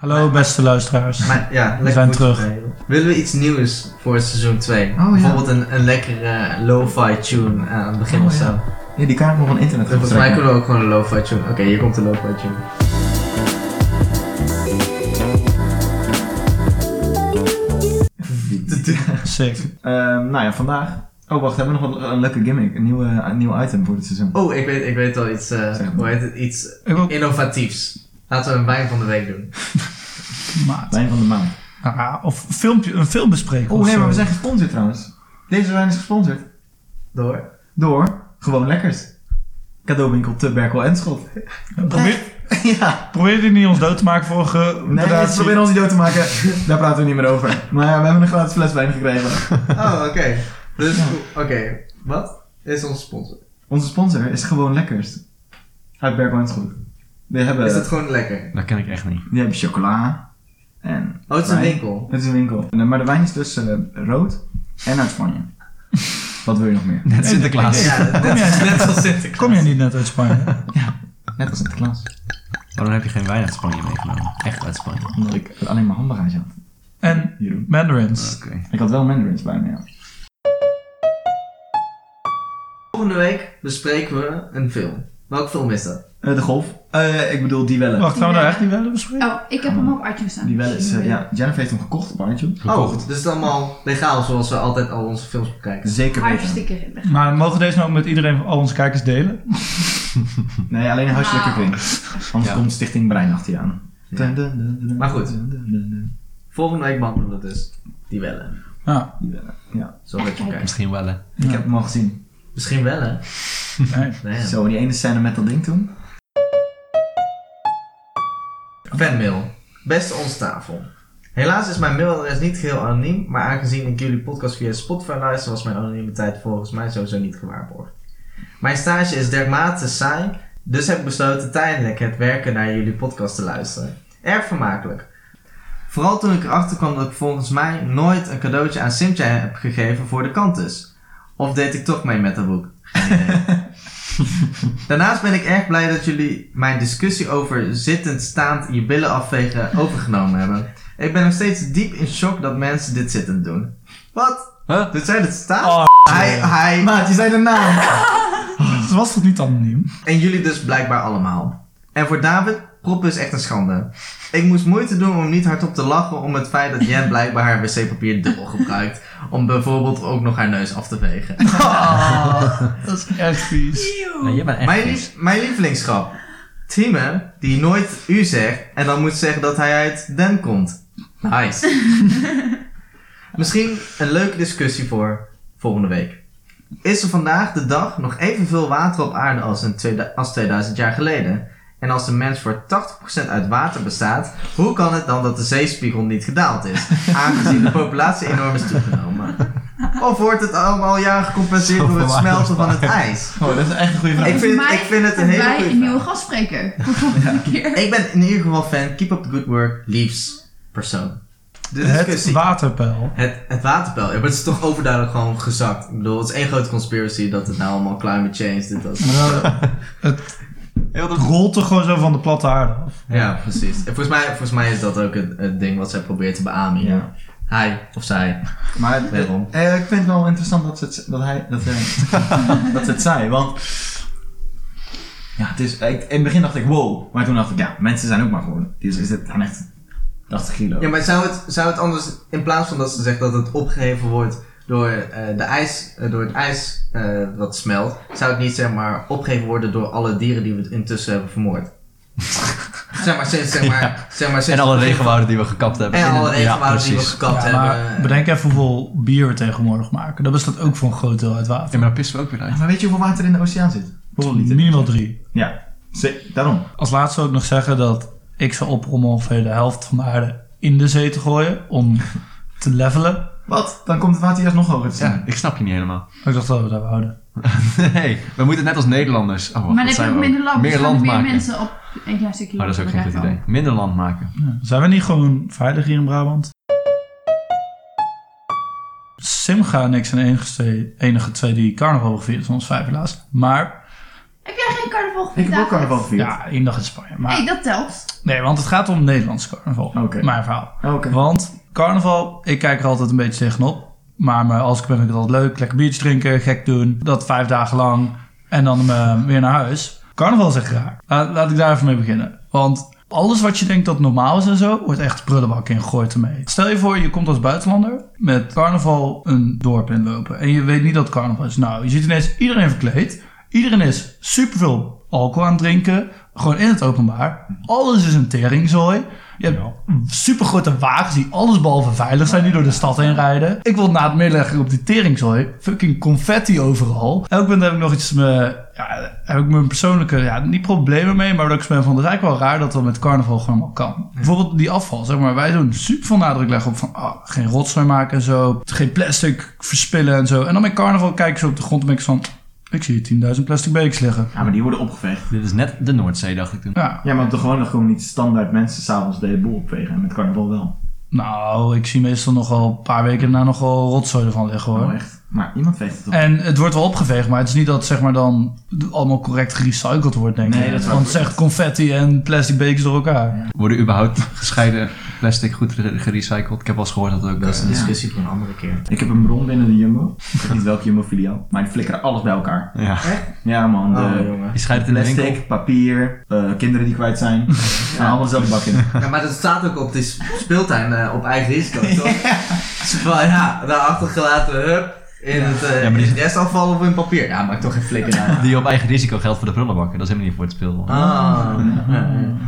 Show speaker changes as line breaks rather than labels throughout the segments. Hallo beste luisteraars.
Maar ja, lekker
zijn
goed
terug.
voorbereid. Willen we iets nieuws voor het seizoen 2?
Oh, ja.
Bijvoorbeeld een, een lekkere eh, lo-fi tune aan het begin
Oh,
of zo.
ja. Ja, die kan ik nog van internet gaan
Volgens mij
trekken.
kunnen we ook gewoon een lo-fi tune. Oké, hier komt de lo-fi tune.
Sick.
Ehm, nou ja, vandaag. Oh, wacht, hebben we nog een, een leuke gimmick? Een, nieuwe, een nieuw item voor dit seizoen.
Oh, ik weet, ik weet al iets, eh,
Zeg maar.
hoe heet het? iets
Ik ook.
innovatiefs. Laten we een wijn van de week doen.
Maat.
Wijn van de maand.
Ah, of filmpje, een film bespreken.
Oh,
of
nee,
zo.
maar we zijn gesponsord trouwens. Deze wijn is gesponsord
Door.
door Gewoon Lekkers. Cadeauwinkel te Berkel en Schot.
Probeer,
ja.
probeer je niet ons dood te maken voor een ge-
Nee,
gradatie?
ze proberen ons niet dood te maken. Daar praten we niet meer over. Maar ja, we hebben een gratis fles wijn gekregen.
Oh, oké. Dus, oké. Wat is onze sponsor?
Onze sponsor is Gewoon Lekkers. Uit Berkel en Schot. Die hebben,
Is dat gewoon lekker?
Dat ken ik echt niet.
die hebben chocola. En
Oh, het is een
Wijn.
winkel.
Het is een winkel. Nee, Maar de wijn is dus eh, rood en uit Spanje. Wat wil je nog meer?
Net Sinterklaas.
Ja,
Kom jij-
net als Sinterklaas.
Kom jij niet net uit Spanje?
Net als Sinterklaas.
Waarom heb je geen wijn uit Spanje meegenomen? Echt uit Spanje.
Omdat ik alleen maar handbagage had.
en
Jeroen.
Mandarins.
Oké.
Ik had wel mandarins bij me, ja.
Volgende week bespreken we een film. Welke film is dat?
Eh, de golf. Eh, ik bedoel, die wellen.
Wacht, gaan we daar echt niet willen bespreken?
Oh, ik heb hem op iTunes staan.
Die wellen is... eh, ja, Jennifer heeft hem gekocht op iTunes.
Oh, dus het is allemaal legaal zoals we altijd al onze films bekijken.
Zeker weten.
Hartstikke rillig.
Maar mogen deze nou ook met iedereen, al onze kijkers delen?
Nee, alleen huiselijke
Nou.
kring. Anders
Ja.
komt Stichting Brein achter je aan.
Ja.
Dun, dun, dun, dun,
Maar goed.
dun, dun, dun, dun.
Volgende week behandelen we dus die wellen.
Nou,
Die wellen. Ja.
Zo dat je
Kijk.
kijkt.
Misschien wel hè.
Ik heb hem al gezien.
Misschien wel, hè?
nee.
Nee, ja.
Zo, die ene scène met dat ding toen.
Fanmail. Beste ons tafel. Helaas is mijn mailadres niet geheel anoniem, maar aangezien ik jullie podcast via Spotify luister, was mijn anonimiteit volgens mij sowieso niet gewaarborgd. Mijn stage is dermate saai, dus heb ik besloten tijdelijk het werken naar jullie podcast te luisteren. Erg vermakelijk. Vooral toen ik erachter kwam dat ik volgens mij nooit een cadeautje aan Simtje heb gegeven voor de kantus. Of deed ik toch mee met dat boek? Geen idee. Daarnaast ben ik erg blij dat jullie mijn discussie over zittend, staand je billen afvegen overgenomen hebben. Ik ben nog steeds diep in shock dat mensen dit zittend doen. Wat?
Huh?
Doet zij dit staan?
Oh,
hij, hij.
Maat, je zei de naam.
Dus was dat niet anoniem?
En jullie dus blijkbaar allemaal. En voor David, proppen is echt een schande. Ik moest moeite doen om niet hardop te lachen om het feit dat Jen blijkbaar haar wc-papier dubbel gebruikt. Om bijvoorbeeld ook nog haar neus af te vegen.
dat is echt vies.
Nee, jij bent echt
Mijn,
vies.
lief, mijn lievelingsgrap. Tieme, die nooit u zegt en dan moet zeggen dat hij uit Den komt. Nice. Misschien een leuke discussie voor volgende week. Is er vandaag de dag nog evenveel water op aarde als, in tweede- als 2000 jaar geleden? En als de mens voor 80% uit water bestaat, hoe kan het dan dat de zeespiegel niet gedaald is? Aangezien de populatie enorm is toegenomen. Of wordt het allemaal jaren gecompenseerd door het smelten van het ijs?
Oh, dat is echt een goede vraag.
Ik vind-
Volgens mij
ik vind het een
hebben
hele
wij
goeie
een
vraag.
nieuwe gastspreker. Voor volgende keer.
Ik ben in ieder geval fan. Keep up the good work. Liefs persoon. De
Het
discussie.
waterpeil.
Het, het waterpeil. Ja, maar het is toch overduidelijk gewoon gezakt. Ik bedoel, het is één grote conspiracy dat het nou allemaal climate change, dit, dat.
Maar dat- Het rolt er gewoon zo van de platte aarde af.
Ja, precies. En volgens mij, volgens mij is dat ook het, het ding wat zij probeert te beamen hier.
Ja.
Hij of zij.
Maar eh,
Wederom.
eh, ik vind het wel interessant dat ze het, dat hij, dat, eh, dat ze het zei, want... Ja, het is, ik, in het begin dacht ik wow, maar toen dacht ik ja, mensen zijn ook maar gewoon. Dus is dit dan echt 80 kilo?
Oh.
Ja, maar zou het, zou het anders, in plaats van dat ze zegt dat het opgeheven wordt door, eh, de ijs, eh, door het ijs eh, wat smelt, zou het niet zeg maar opgeheven worden door alle dieren die we intussen hebben vermoord? zeg maar, sinds, zeg maar, zeg maar,
En
sinds
alle regenwouden die we gekapt hebben.
En alle
Ja,
regenwouden die we
precies.
gekapt
Ja, maar
hebben. eh,
bedenk even hoeveel bier we tegenwoordig maken. Dat bestaat ook voor een groot deel uit water.
Ja, maar daar pissen we ook weer uit.
maar weet je hoeveel water in de oceaan zit? Hoeveel liter?
Minimaal drie.
Ja, ze- daarom.
Als laatste zou ik nog zeggen dat ik zou oproepen om ongeveer de helft van de aarde in de zee te gooien. Om te levelen.
Wat? Dan komt het water juist nog hoger te
Ja,
staan.
ik snap je niet helemaal.
Ik dacht dat we daar houden.
Nee, we moeten net als Nederlanders. Oh, wacht,
maar
dat
dan heb
zijn
je ook
we
minder land. dus
Meer
gaan er
land
meer
maken.
mensen op een klein stukje.
Maar dat is ook geen
bedrijf
goed
van.
idee. Minder land maken.
Zijn we niet gewoon veilig hier in Brabant? Simga en ik zijn de enige, twee- enige twee die carnaval hebben gevierd van ons vijf helaas. Maar
Heb jij geen carnaval carnaval
Ik
gevierd.
heb ook
David?
carnaval gevierd.
Ja, één dag in Spanje. Maar,
hey, dat telt.
Nee, want het gaat om Nederlands carnaval.
Oké.
Mijn verhaal.
Oh, Oké.
Want carnaval, ik kijk er altijd een beetje tegenop. Maar me- als ik ben, vind ik het altijd leuk. Lekker biertje drinken, gek doen. Dat vijf dagen lang. En dan eh, weer naar huis. Carnaval is echt raar. Laat, laat ik daar even mee beginnen. Want alles wat je denkt dat normaal is en zo, wordt echt prullenbak ingegooid ermee. Stel je voor, je komt als buitenlander met carnaval een dorp inlopen. En je weet niet dat het carnaval is. Nou, je ziet ineens iedereen verkleed. Iedereen is superveel alcohol aan het drinken. Gewoon in het openbaar. Alles is een teringzooi. Je hebt supergrote wagens die allesbehalve veilig zijn, die door de stad heen rijden. Ik wil na het middenleggen op die teringzooi. Fucking confetti overal. Elk punt heb ik nog iets. Me, ja, heb ik mijn persoonlijke. Ja, niet problemen mee, maar dat ik ben van. Het is eigenlijk wel raar dat dat met carnaval gewoon allemaal kan. Bijvoorbeeld die afval, zeg maar. Wij doen super veel nadruk leggen op van. ah, geen rotzooi maken en zo. Geen plastic verspillen en zo. En dan met carnaval kijken ze op de grond en denk ik van. Ik zie 10.000 plastic bekers liggen.
Ja, maar die worden opgeveegd.
Dit is net de Noordzee, dacht ik toen.
Ja,
Ja, maar op de gewone dag komen niet standaard mensen s'avonds de hele boel opvegen. En met carnaval wel.
nou, ik zie meestal nogal een paar weken daarna nogal rotzooi ervan liggen hoor.
Oh, echt. Maar iemand veegt het op.
En het wordt wel opgeveegd, maar het is niet dat het zeg maar dan allemaal correct gerecycled wordt, denk ik.
Nee, dat is waar.
Want het is echt confetti en plastic bekers door elkaar.
Worden überhaupt gescheiden plastic goed gere- gerecycled? Ik heb wel eens gehoord dat het ook
Dat is
best.
een discussie voor een andere keer.
Ik heb een bron binnen de Jumbo. Ik weet niet welke Jumbo-filiaal. Maar die flikkeren alles bij elkaar.
Ja.
Ja, man. De,
Oh, jongen.
Je scheidt het in de winkel.
Plastic, papier, eh, kinderen die kwijt zijn. Ja, allemaal dezelfde bak in.
Ja, maar dat staat ook op de s- speeltuin eh, op eigen risico, toch? Zo van, ja, daarachter gelaten, hup, in het, eh,
Ja, maar die-
in het restafval of in papier. Ja, maakt toch geen flikker uit.
Die op eigen risico geldt voor de prullenbakken. Dat is helemaal niet voor het speel.
Ah.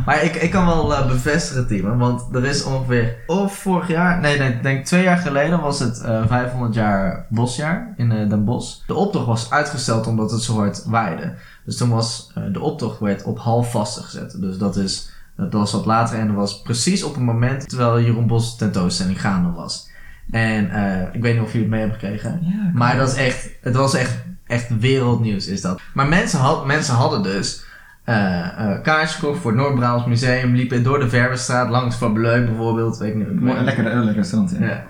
Maar ik, ik kan wel eh, bevestigen, Tim, want er is ongeveer, of vorig jaar, nee, nee, ik denk twee jaar geleden was het eh, 500 jaar bosjaar in eh, Den Bosch. De optocht was uitgesteld omdat het zo hard waaide. Dus toen was eh, de optocht werd op half vasten gezet. Dus dat is, dat was wat later en dat was precies op het moment terwijl Jeroen Bos tentoonstelling gaande was. En eh, ik weet niet of jullie het mee hebben gekregen. Maar dat is echt, het was echt, echt wereldnieuws is dat. Maar mensen, had, mensen hadden dus eh eh kaartjes gekocht voor het Noord-Brabants Museum, liepen door de Verwestraat langs Van Bleu bijvoorbeeld, weet ik niet.
Mooi, een lekker, een lekker restaurant. Ja.
Ja.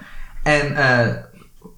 En eh,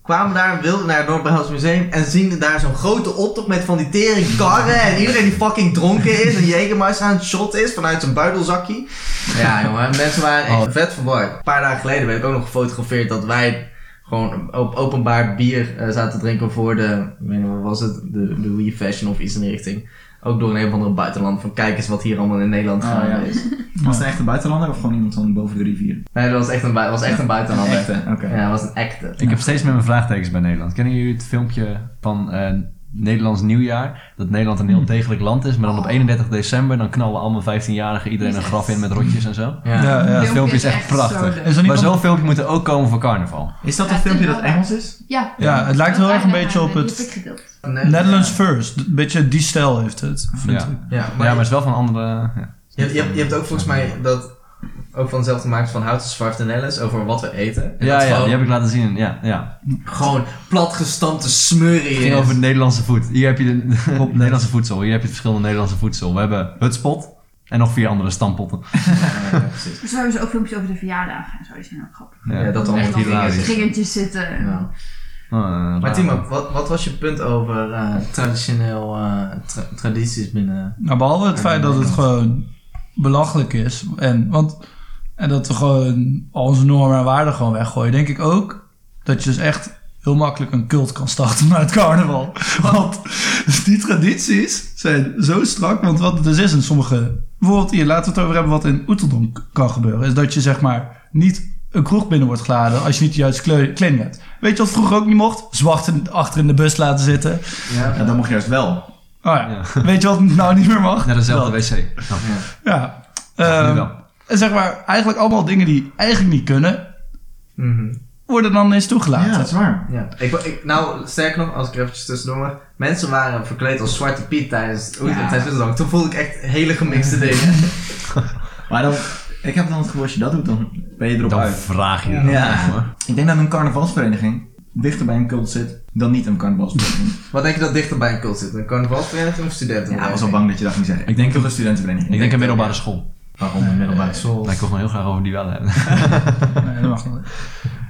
kwamen daar, wilden naar het Noord-Brabants Museum en zien daar zo'n grote optocht met van die tering karren en iedereen die fucking dronken is en Jägermeister aan het shot is vanuit zijn buidelzakje. Oh. Ja jongen, mensen waren echt vet verward. Een paar dagen geleden werd ik ook nog gefotografeerd dat wij gewoon op openbaar bier eh, zaten te drinken voor de, ik weet niet wat was het, de, de Wii Fashion of iets in die richting. Ook door een of andere buitenland van kijk eens wat hier allemaal in Nederland
Oh,
gaande
ja.
is.
Was het echt een buitenlander of gewoon iemand van boven de rivier?
Nee, dat was echt een, bui- was echt een buitenland.
Een echte, oké.
Ja, dat was een echte.
Ik heb steeds met mijn vraagtekens bij Nederland. Kennen jullie het filmpje van eh, Nederlands Nieuwjaar? Dat Nederland een heel degelijk land is, maar dan op 31 december dan knallen allemaal 15-jarigen iedereen een graf in met rotjes en zo.
Ja,
Ja.
ja.
Dat filmpje is echt
zo
prachtig.
leuk.
Is er niet
Maar
wat-
zo'n filmpje moet er ook komen voor carnaval.
Is dat
Ja,
het
het
filmpje
is
dat
wel-
Engels is?
ja.
Ja, het lijkt wel
Dat
erg een
eigenlijk
beetje op
heb
het-
ik gedeeld.
Nee,
Netherlands first. Een beetje die stijl heeft het, vind
Ja.
ik.
Ja,
Ja,
maar,
maar het is wel van andere... Ja.
Je, je, hebt- je hebt ook volgens mij dat ook van dezelfde makers van Houten Zwart en Ellis over wat we eten. En
Ja,
dat
ja,
gewoon,
die heb ik laten zien. Ja, ja.
gewoon platgestampte smurrie
Het ging
is.
over het Nederlandse voet. Hier heb je de, het Nederlandse voedsel. Hier heb je het verschillende Nederlandse voedsel. We hebben Hutspot en nog vier andere stampotten.
Ja, ja, precies.
Maar Sowieso ook filmpjes over de verjaardagen en zo. Die zijn ook grappig.
Ja, dat allemaal
Echt
Echt
dan
hilarisch.
vingertjes zitten.
Ja.
Ah,
Maar
raar.
Timo, wat, wat was je punt over eh, traditioneel eh, tra- tradities binnen...
Nou, behalve het feit dat het gewoon belachelijk is. En, want, en dat we gewoon al onze normen en waarden gewoon weggooien. Denk ik ook dat je dus echt heel makkelijk een cult kan starten vanuit carnaval. Want die tradities zijn zo strak. Want wat het dus is in sommige... Bijvoorbeeld hier, laten we het over hebben wat in Oeteldonk k- kan gebeuren. Is dat je zeg maar niet een kroeg binnen wordt geladen als je niet de juiste kleu- kleding hebt. Weet je wat vroeger ook niet mocht? Zwart in- achter in de bus laten zitten.
Ja,
Ja, dat mocht juist wel.
Oh ja. Weet je wat nou niet meer mag?
Naar dezelfde
Dat.
wc. Nou,
Ja.
nu
Ehm,
wel.
en zeg maar, eigenlijk allemaal dingen die eigenlijk niet kunnen,
Mhm.
worden dan eens toegelaten.
Ja, dat is waar.
Ja, ik, wa- ik, nou, sterk nog, als ik er eventjes tussendoor mag. Mensen waren verkleed als Zwarte Piet tijdens oei,
Ja.
tijdens Oeteldonk. Toen voelde ik echt hele gemixte dingen.
Maar dan, ik heb dan het gevoel, als je dat doet, dan ben je erop
Dan
uit.
vraag je.
Ja. Ik denk dat een carnavalsvereniging dichter bij een cult zit dan niet een carnavalsvereniging.
Wat denk je dat dichter bij een cult zit? Een carnavalsvereniging of studenten?
ja, ik was al bang dat je dat ging zeggen.
Ik denk-
toch een studentenvereniging.
Ik denk een middelbare school. Nou,
waarom een middelbare
school.
Maar ik wil gewoon heel graag over die wel hebben.
Nee, dat mag niet.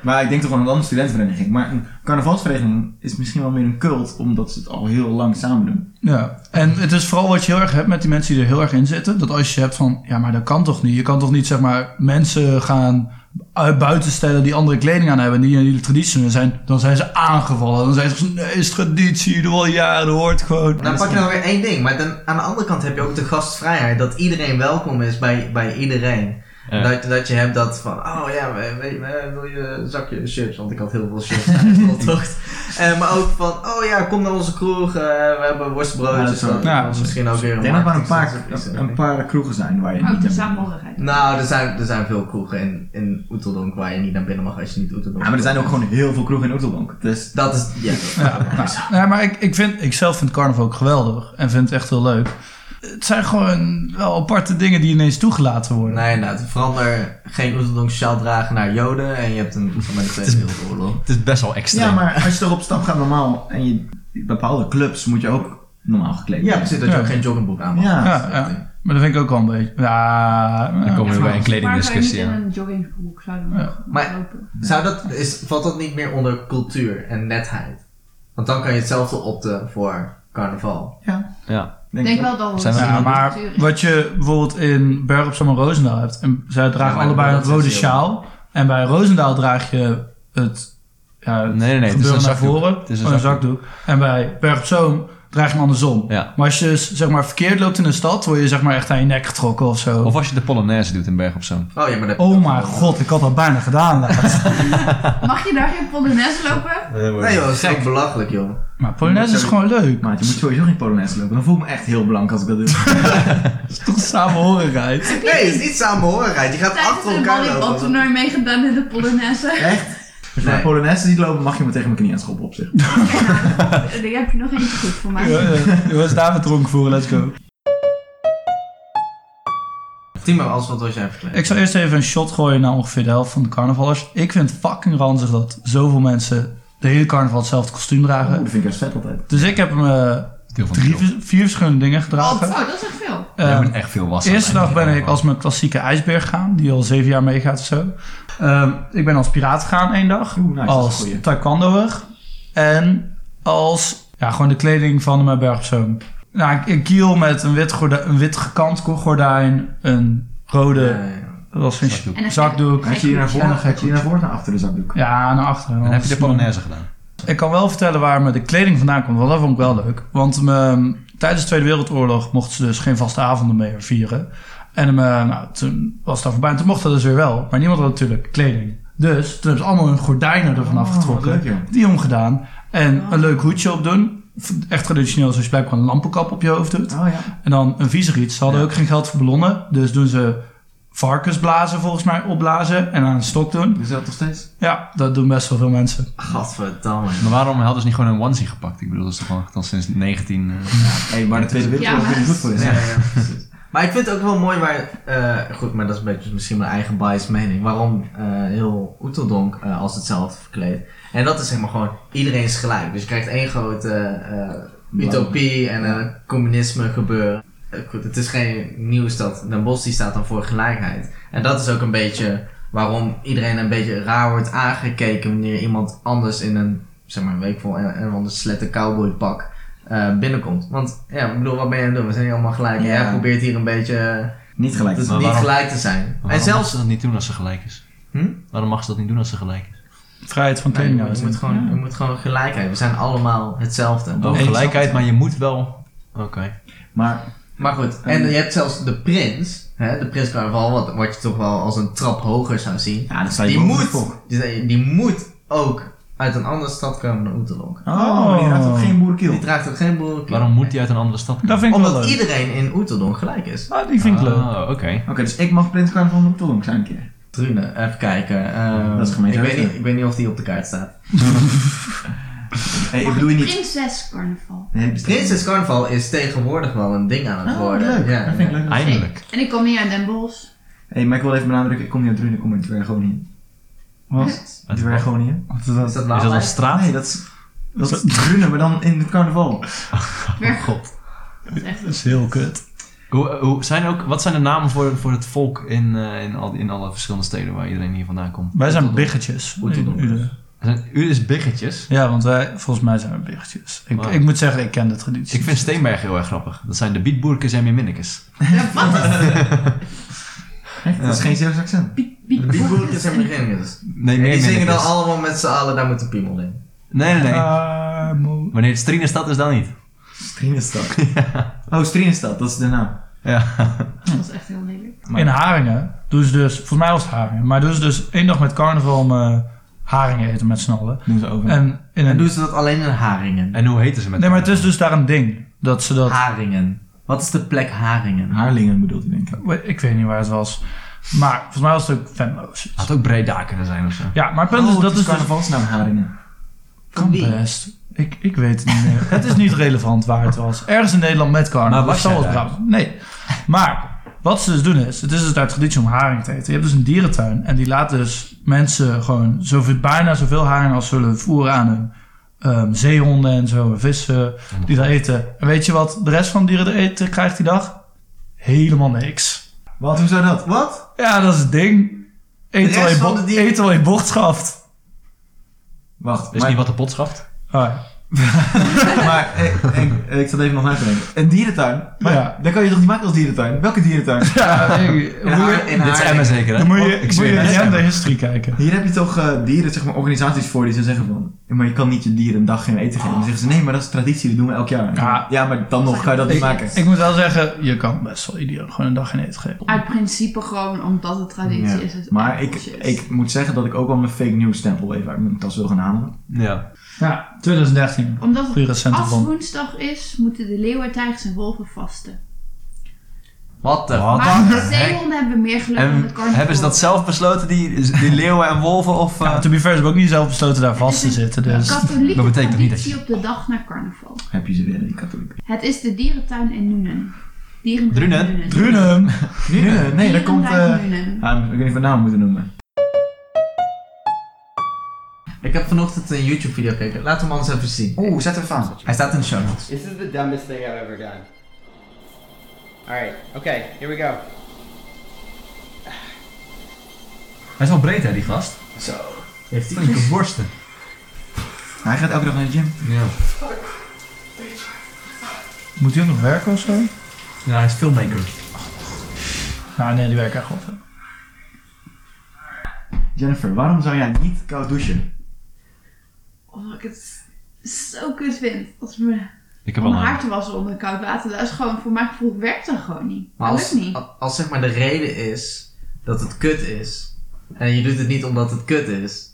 Maar ik denk toch wel een andere studentenvereniging. Maar een carnavalsvereniging is misschien wel meer een cult, omdat ze het al heel lang samen doen.
Ja, en het is vooral wat je heel erg hebt met die mensen die er heel erg in zitten. Dat als je hebt van, ja, maar dat kan toch niet. Je kan toch niet, zeg maar, mensen gaan uit buiten stellen die andere kleding aan hebben. En die in die traditie zijn. Dan zijn ze aangevallen. Dan zijn ze van, nee, is traditie. Doe al jaren, hoort gewoon.
Dan pak je nog weer één ding. Maar dan, aan de andere kant heb je ook de gastvrijheid. Dat iedereen welkom is bij, bij iedereen.
Ja.
Dat, dat je hebt dat van, oh ja, we- we- we- wil je een zakje chips? Want ik had heel veel chips tijdens de optocht. Eh, maar ook van, oh ja, kom naar onze kroeg. eh, we hebben
Ja,
worstbroodjes.
dat is wel-
Dat-
ja,
dat is misschien ook weer
Ik denk dat er maar een paar,
marketingstrategie.
een, een paar kroegen Oh, zijn waar je het
Ook de
niet hebt.
saamhorigheid.
Nou, er zijn, er zijn veel kroegen in, in Oeteldonk waar je niet naar binnen mag als je niet Oeteldonk
Ja, maar er zijn ook gewoon heel veel kroegen in Oetelbank. Dus
Dat is, ja. dat-
Ja, nou, nee, maar ik, ik, vind, ik zelf vind carnaval ook geweldig. En vind het echt heel leuk. Het zijn gewoon wel aparte dingen die ineens toegelaten worden.
Nee, nou, het verander geen Oeteldonk sjaal dragen naar Joden en je hebt een met de Tweede Wereldoorlog.
Het is best wel extreem.
Ja, maar als je toch op stap gaat normaal en je bepaalde clubs moet je ook normaal gekleed
Ja, precies, dat je
Ja.
ook geen joggingbroek aan mag.
Ja.
Ja, ja. Maar dat vind ik ook wel een beetje... Ja,
Dan komen we bij een
Maar zou je niet
kledingdiscussie
in
aan.
een joggingbroek zouden
Ja.
mogen
Maar-
lopen?
Zou dat, is, valt dat niet meer onder cultuur en netheid? Want dan kan je hetzelfde opten voor carnaval.
Ja.
Ja.
Ik
Denk
denk
ik.
wel dat we
Zijn we-
Ja, maar wat je bijvoorbeeld in Berg op Zomer Roosendaal hebt. En zij dragen
Ja, maar
allebei
dat
een
is
rode
heel-
sjaal. En bij Roosendaal draag je het, ja, het
Nee, nee, nee. Het is
gebeuren
een
naar
zakdoek.
voren.
Het is een
oh, een
zakdoek.
zakdoek. En bij Berg op Zoom draag je hem andersom.
Ja.
Maar als je zeg maar, verkeerd loopt in de stad, word je zeg maar, echt aan je nek getrokken of zo.
Of als je de Polonaise doet in Berg op Zoom.
Oh ja, maar dat...
oh mijn god, ik had dat bijna gedaan. laatst.
Mag je daar geen polonaise lopen?
Nee joh, dat is echt belachelijk joh.
maar Polonaise is gewoon leuk.
Maat, je moet sowieso geen Polonaise lopen. Dan voel ik me echt heel blank als ik dat doe.
Het is toch samenhorigheid.
Nee, het is niet samenhorigheid. Je gaat
Tijdens
achter
een
elkaar lopen.
volleybaltoernooi meegedaan in de polonaise.
echt? Als je
Nee.
naar Polonaise ziet lopen, mag je me tegen mijn knieën schoppen op zich.
Daar heb je nog eentje goed voor mij.
Ja, ja. Jongens, daar we dronken voor, let's go.
Timo, als wat was jij verkleed?
Ik zal eerst even een shot gooien naar ongeveer de helft van de carnavalers. Ik vind het fucking ranzig dat zoveel mensen de hele carnaval hetzelfde kostuum
Oeh,
dragen.
dat vind ik juist vet altijd.
Dus ik heb me
Deel van de
drie,
wereld.
vier verschillende dingen gedragen.
Oh, dat is echt veel.
We
Ehm,
hebben echt veel wassen.
eerste dag ben ik als mijn klassieke ijsberg gaan, die al zeven jaar meegaat of zo. Ehm, ik ben als piraat gegaan één dag,
Oeh, nice, dat is een
als
goeie.
taekwondoer en als ja, gewoon de kleding van mijn bergpersoon. Nou, ik- een kiel met een wit, gorda- een wit gekant gordijn, een rode,
Ja,
dat was een
Zakdoek.
En een
zakdoek.
Had je hier naar voren,
Ja,
had je hier naar voren, naar achteren zakdoek?
Ja, naar achteren.
En heb je
anders-
de Polonaise gedaan?
Ik kan wel vertellen waar me de kleding vandaan komt, want dat vond ik wel leuk. Want ehm, tijdens de Tweede Wereldoorlog mochten ze dus geen vaste avonden meer vieren. En ehm, nou, toen was dat voorbij en toen mocht dat dus weer wel. Maar niemand had natuurlijk kleding. Dus toen hebben ze allemaal hun gordijnen ervan
Oh,
afgetrokken.
leuk, joh. Oh.
Die omgedaan. En een leuk hoedje opdoen. Echt traditioneel, zoals je blijkbaar een lampenkap op je hoofd doet.
Oh ja.
En dan een viezer iets. Ze hadden ook geen geld voor ballonnen. Dus doen ze varkensblazen volgens mij opblazen. En aan een stok doen.
Is Dus dat nog steeds?
Ja, dat doen best wel veel mensen.
Gadverdamme.
Maar waarom hadden ze niet gewoon een onesie gepakt? Ik bedoel, dat is toch gewoon al sinds 19... eh,
Hé, maar de Tweede Wereldoorlog
Ja,
is
maar-
niet goed voor je.
Ja,
zeg.
ja, ja, precies. Maar ik vind het ook wel mooi waar... eh, goed, maar dat is een beetje misschien mijn eigen biased mening. Waarom eh, heel Oeteldonk eh, als hetzelfde verkleed. En dat is helemaal gewoon... Iedereen is gelijk. Dus je krijgt één grote eh, utopie en eh, communisme gebeuren. Eh, goed, het is geen nieuws dat Den Bosch die staat dan voor gelijkheid. En dat is ook een beetje waarom iedereen een beetje raar wordt aangekeken... wanneer iemand anders in een, zeg maar, week vol en, en anders slette cowboypak eh, binnenkomt. Want ja, ik bedoel, wat ben je aan het doen? We zijn hier allemaal gelijk. En
Ja.
jij probeert hier een beetje
Niet gelijk.
dus
Maar
niet
waarom-
gelijk te zijn. En
Waarom mag
zelfs...
ze dat niet doen als ze gelijk is?
Hm?
Waarom mag ze dat niet doen als ze gelijk is?
Vrijheid van
Nee,
kleding.
je, moet gewoon, je moet gewoon gelijkheid. We zijn allemaal hetzelfde.
Oh,
Exact.
gelijkheid, maar je moet wel... Oké.
Maar
Maar goed, en je hebt zelfs de prins, hè, de prins carnaval, wat, wat je toch wel als een trap hoger zou zien.
ja, dat sta je
Die
boven de
moet,
volk.
die, die moet ook uit een andere stad komen dan Oeterlonk.
Oh, maar die raakt ook geen boerenkiel.
Die draagt ook geen boerenkiel.
Waarom moet die uit een andere stad
Dat vind ik wel
Omdat
leuk.
iedereen in Oeteldonk gelijk is.
Ah, die vind ik leuk.
Oh, oké.
Oké, dus ik mag Prins Carnaval van Oeteldonk zijn een keer.
Trune, even kijken. ehm,
Dat is
ik,
gemeenschap.
weet niet, ik weet niet of die op de kaart staat.
Hé, ik bedoel je niet.
Prinses carnaval.
Nee, bestaat niet.
Prinses Carnaval is tegenwoordig wel een ding aan het
Oh,
worden.
leuk.
Ja,
dat vind ik
ja.
leuk.
Eindelijk.
En ik kom niet uit Den Bosch.
Hé, maar ik wil even benadrukken, ik kom niet uit Drunen, ik kom uit Dwergonië.
Wat?
Uit-
Dwergonië?
Wat is dat?
Is dat
Is dat
Waalwijk?
een straat?
Nee, dat is, dat is Drunen, maar dan in het carnaval.
Weer
God.
Dat is echt-
Dat is heel kut.
Hoe, hoe, zijn er ook, wat zijn de namen voor, voor het volk in, eh, in, al, in alle verschillende steden waar iedereen hier vandaan komt?
Wij zijn biggetjes.
Hoe tot
in
op.
Uden.
Zijn- U is biggetjes.
Ja, want wij, volgens mij zijn we biggetjes. Ik,
Wow.
ik moet zeggen, ik ken de traditie.
Ik vind Steenberg heel erg grappig. Dat zijn de Bietboerkes en Miminnekes.
Echt? Dat is geen Zeeuws accent.
De Bietboerkes en beginners.
Nee,
En die dus. zingen dan
Meerminnekes.
allemaal met z'n allen, daar moet de piemel in.
Nee, nee, nee.
Ah, moe.
Wanneer het Strienestad is, dan niet.
Strienestad. Oh, Strienestad, dat is de naam.
Ja.
Dat was echt heel lelijk.
In Haringen doen ze dus, volgens mij was het Haringen, maar doen ze dus één dag met carnaval eh, Haringen eten met z'n allen.
Doen ze over.
En in
En
een,
doen ze dat alleen in Haringen.
En hoe heten ze met
nee, maar het is dus daar een ding dat ze dat.
Haringen. Wat is de plek Haringen?
Haarlingen bedoelt hij denk ik.
Ik weet niet waar het was, maar volgens mij was het ook Venlo's.
Had ook Breda kunnen zijn of zo.
Ja, maar het punt is,
Oh,
dat
het
is, dus,
carnavalsnaam Haringen.
kan
Wie?
best. Ik, ik weet het niet meer. het is niet relevant waar het was. Ergens in Nederland met carnaval.
Maar was
Dat zal
jij
wel
daar?
grappig. Nee. Maar wat ze dus doen is, het is dus daar traditie om haring te eten. Je hebt dus een dierentuin en die laat dus mensen gewoon zoveel, bijna zoveel haring als zullen voeren aan hun ehm, zeehonden en zo, en vissen die dat eten. En weet je wat de rest van de dieren er eten krijgt die dag? Helemaal niks.
Wat? Hoezo dat? Wat?
Ja, dat is het ding. Eet
De
al
rest
je
van
bo-
de dieren-
eet al je bocht schaft.
Wacht,
Is
maar,
niet wat de pot schaft?
Ah, ja.
maar ik, ik, ik zat even nog na te denken. Een dierentuin? Maar
Ja.
dat kan je toch niet maken als dierentuin? Welke dierentuin?
Ja, ik-
In
hoe-
Haar- in
Dit is
Haringen.
Emmen zeker, hè?
Dan moet je,
ik
moet
zweer
je
het.
in de history kijken.
Hier heb je toch eh, dieren, zeg maar, organisaties voor die ze zeggen van... "Ja, Maar je kan niet je dieren een dag geen eten geven. Dan zeggen ze, nee, maar dat is traditie, dat doen we elk jaar.
Ja.
maar dan nog ga je dat niet maken.
Ik moet wel zeggen, je kan best wel iedereen gewoon een dag geen eten geven.
Uit principe gewoon omdat het traditie is. is
Maar
echt
ik,
bullshit.
ik moet zeggen dat ik ook wel mijn fake news stempel even uit mijn tas wil gaan halen.
Ja.
Ja, 2013.
Omdat
Goeie
het
recente
als
band.
woensdag is, moeten de leeuwen, tijgers en wolven vasten.
Wat de
Wat?
Maar
de
de zeehonden hebben meer geluk dan
En
het carnaval.
hebben ze dat zelf besloten, die, die leeuwen en wolven? Of, eh,
Ja, to be fair, ze hebben ook niet zelf besloten daar vast te
Het is een
zitten. Dus.
katholieke
Dat betekent niet dat
traditie op de dag na carnaval.
Heb je ze weer, die katholieken.
Het is de dierentuin in Nuenen. Dierentuin
Drunen?
in Nuenen.
Drunen!
Nee, nee, dat komt... eh,
Dierentuin in Nuenen.
ah, ik weet niet van naam moeten noemen.
Ik heb vanochtend een YouTube video gekeken. Laat hem anders even zien.
Oeh, zet hem aan.
Hij staat in de show notes.
This is the dumbest thing I've ever done. Alright, okay, here we go.
Hij is wel breed, hè, die gast?
Heeft hij.
Flinke borsten.
Hij gaat elke dag naar de gym.
Ja.
Moet hij ook nog werken of zo?
ja, hij is filmmaker.
Nou, nee, die werken echt wel veel.
Jennifer, waarom zou jij niet koud douchen?
Omdat Oh, ik het zo kut vind. Als me
Ik heb
om
wel een
mijn haar te wassen onder koud water. Dat is gewoon, voor mijn gevoel werkt dat gewoon niet.
Maar
Dat
als,
lukt niet.
a- als zeg maar de reden is dat het kut is. En je doet het niet omdat het kut is.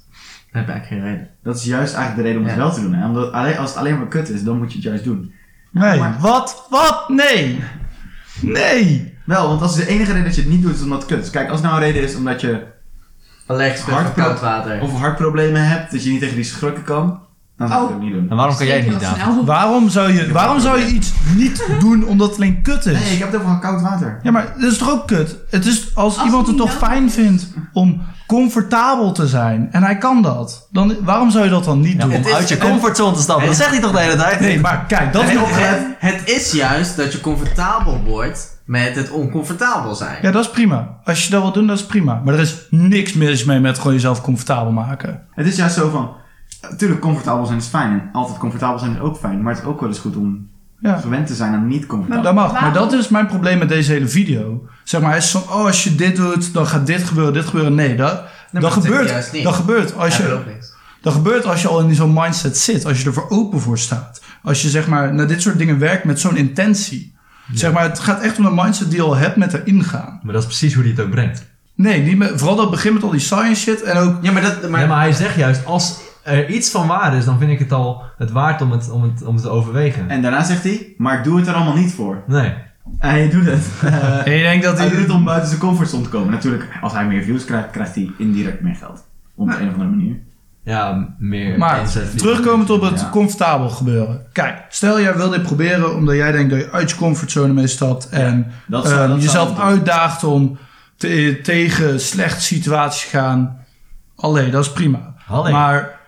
Dan heb je eigenlijk geen reden.
Dat is juist eigenlijk de reden om het
Ja.
wel te doen. Hè? Omdat alleen, als het alleen maar kut is, dan moet je het juist doen.
Nee,
maar-
wat? Wat? Nee! Nee!
Wel, want als de enige reden dat je het niet doet is omdat het kut is. Kijk, als nou een reden is omdat je
Allergisch bent voor
Hardcore.
koud water.
of hartproblemen hebt, dat je niet tegen die schrukken kan, dan zou je
Oh.
het ook niet doen.
En waarom kan jij het niet,
Heel
David?
snel.
Waarom zou je, waarom zou je iets niet doen omdat het alleen kut is?
Nee, ik heb het over koud water.
Ja, maar dat is toch ook kut? Het is als,
Als
iemand het
het
toch
niet nodig
fijn
is.
vindt om comfortabel te zijn en hij kan dat, dan waarom zou je dat dan niet
Ja,
doen?
om
Het is-
uit je
het-
comfortzone te stappen. Dat zegt hij toch de hele tijd?
Nee, maar kijk, dat is
Het,
nog.
het, het is juist dat je comfortabel wordt met het oncomfortabel zijn.
Ja, dat is prima. Als je dat wil doen, dat is prima. Maar er is niks mis mee met gewoon jezelf comfortabel maken.
Het is juist zo van, natuurlijk comfortabel zijn is fijn en altijd comfortabel zijn is ook fijn. Maar het is ook wel eens goed om
Ja.
gewend te zijn aan niet comfortabel.
Dat mag. Maar
Waarom?
dat is mijn probleem met deze hele video. Zeg maar, hij is van, oh, als je dit doet, dan gaat dit gebeuren, dit gebeuren. Nee, dat,
maar
dat,
dat zeg
gebeurt,
je juist niet.
dat gebeurt als
Hij
je...
wil ook niks.
Dat gebeurt als je al in zo'n mindset zit, als je er voor open voor staat. Als je zeg maar naar dit soort dingen werkt met zo'n intentie. Zeg maar, het gaat echt om een mindset die je al hebt met erin gaan.
Maar dat is precies hoe hij het ook brengt.
Nee, niet met, vooral dat begin met al die science shit en ook...
Ja, maar dat. Maar,
Maar, maar hij zegt juist, als er iets van waar is, dan vind ik het al het waard om het, om het, om het te overwegen.
En daarna zegt hij, maar ik doe het er allemaal niet voor.
Nee.
En je doet het.
En je denkt dat
Hij doet
die...
het om buiten zijn comfortzone te komen. Natuurlijk, als hij meer views krijgt, krijgt hij indirect meer geld. Op de een of andere manier.
Ja, meer
Maar
inzet.
terugkomend op het
Ja.
comfortabel gebeuren. Kijk, stel jij wil dit proberen omdat jij denkt dat je uit je comfortzone mee stapt. En
dat zou-
ehm,
dat zou
jezelf
ik doen.
uitdaagt om te- tegen slechte situaties te gaan. Allee, dat is prima.
Allee.
Maar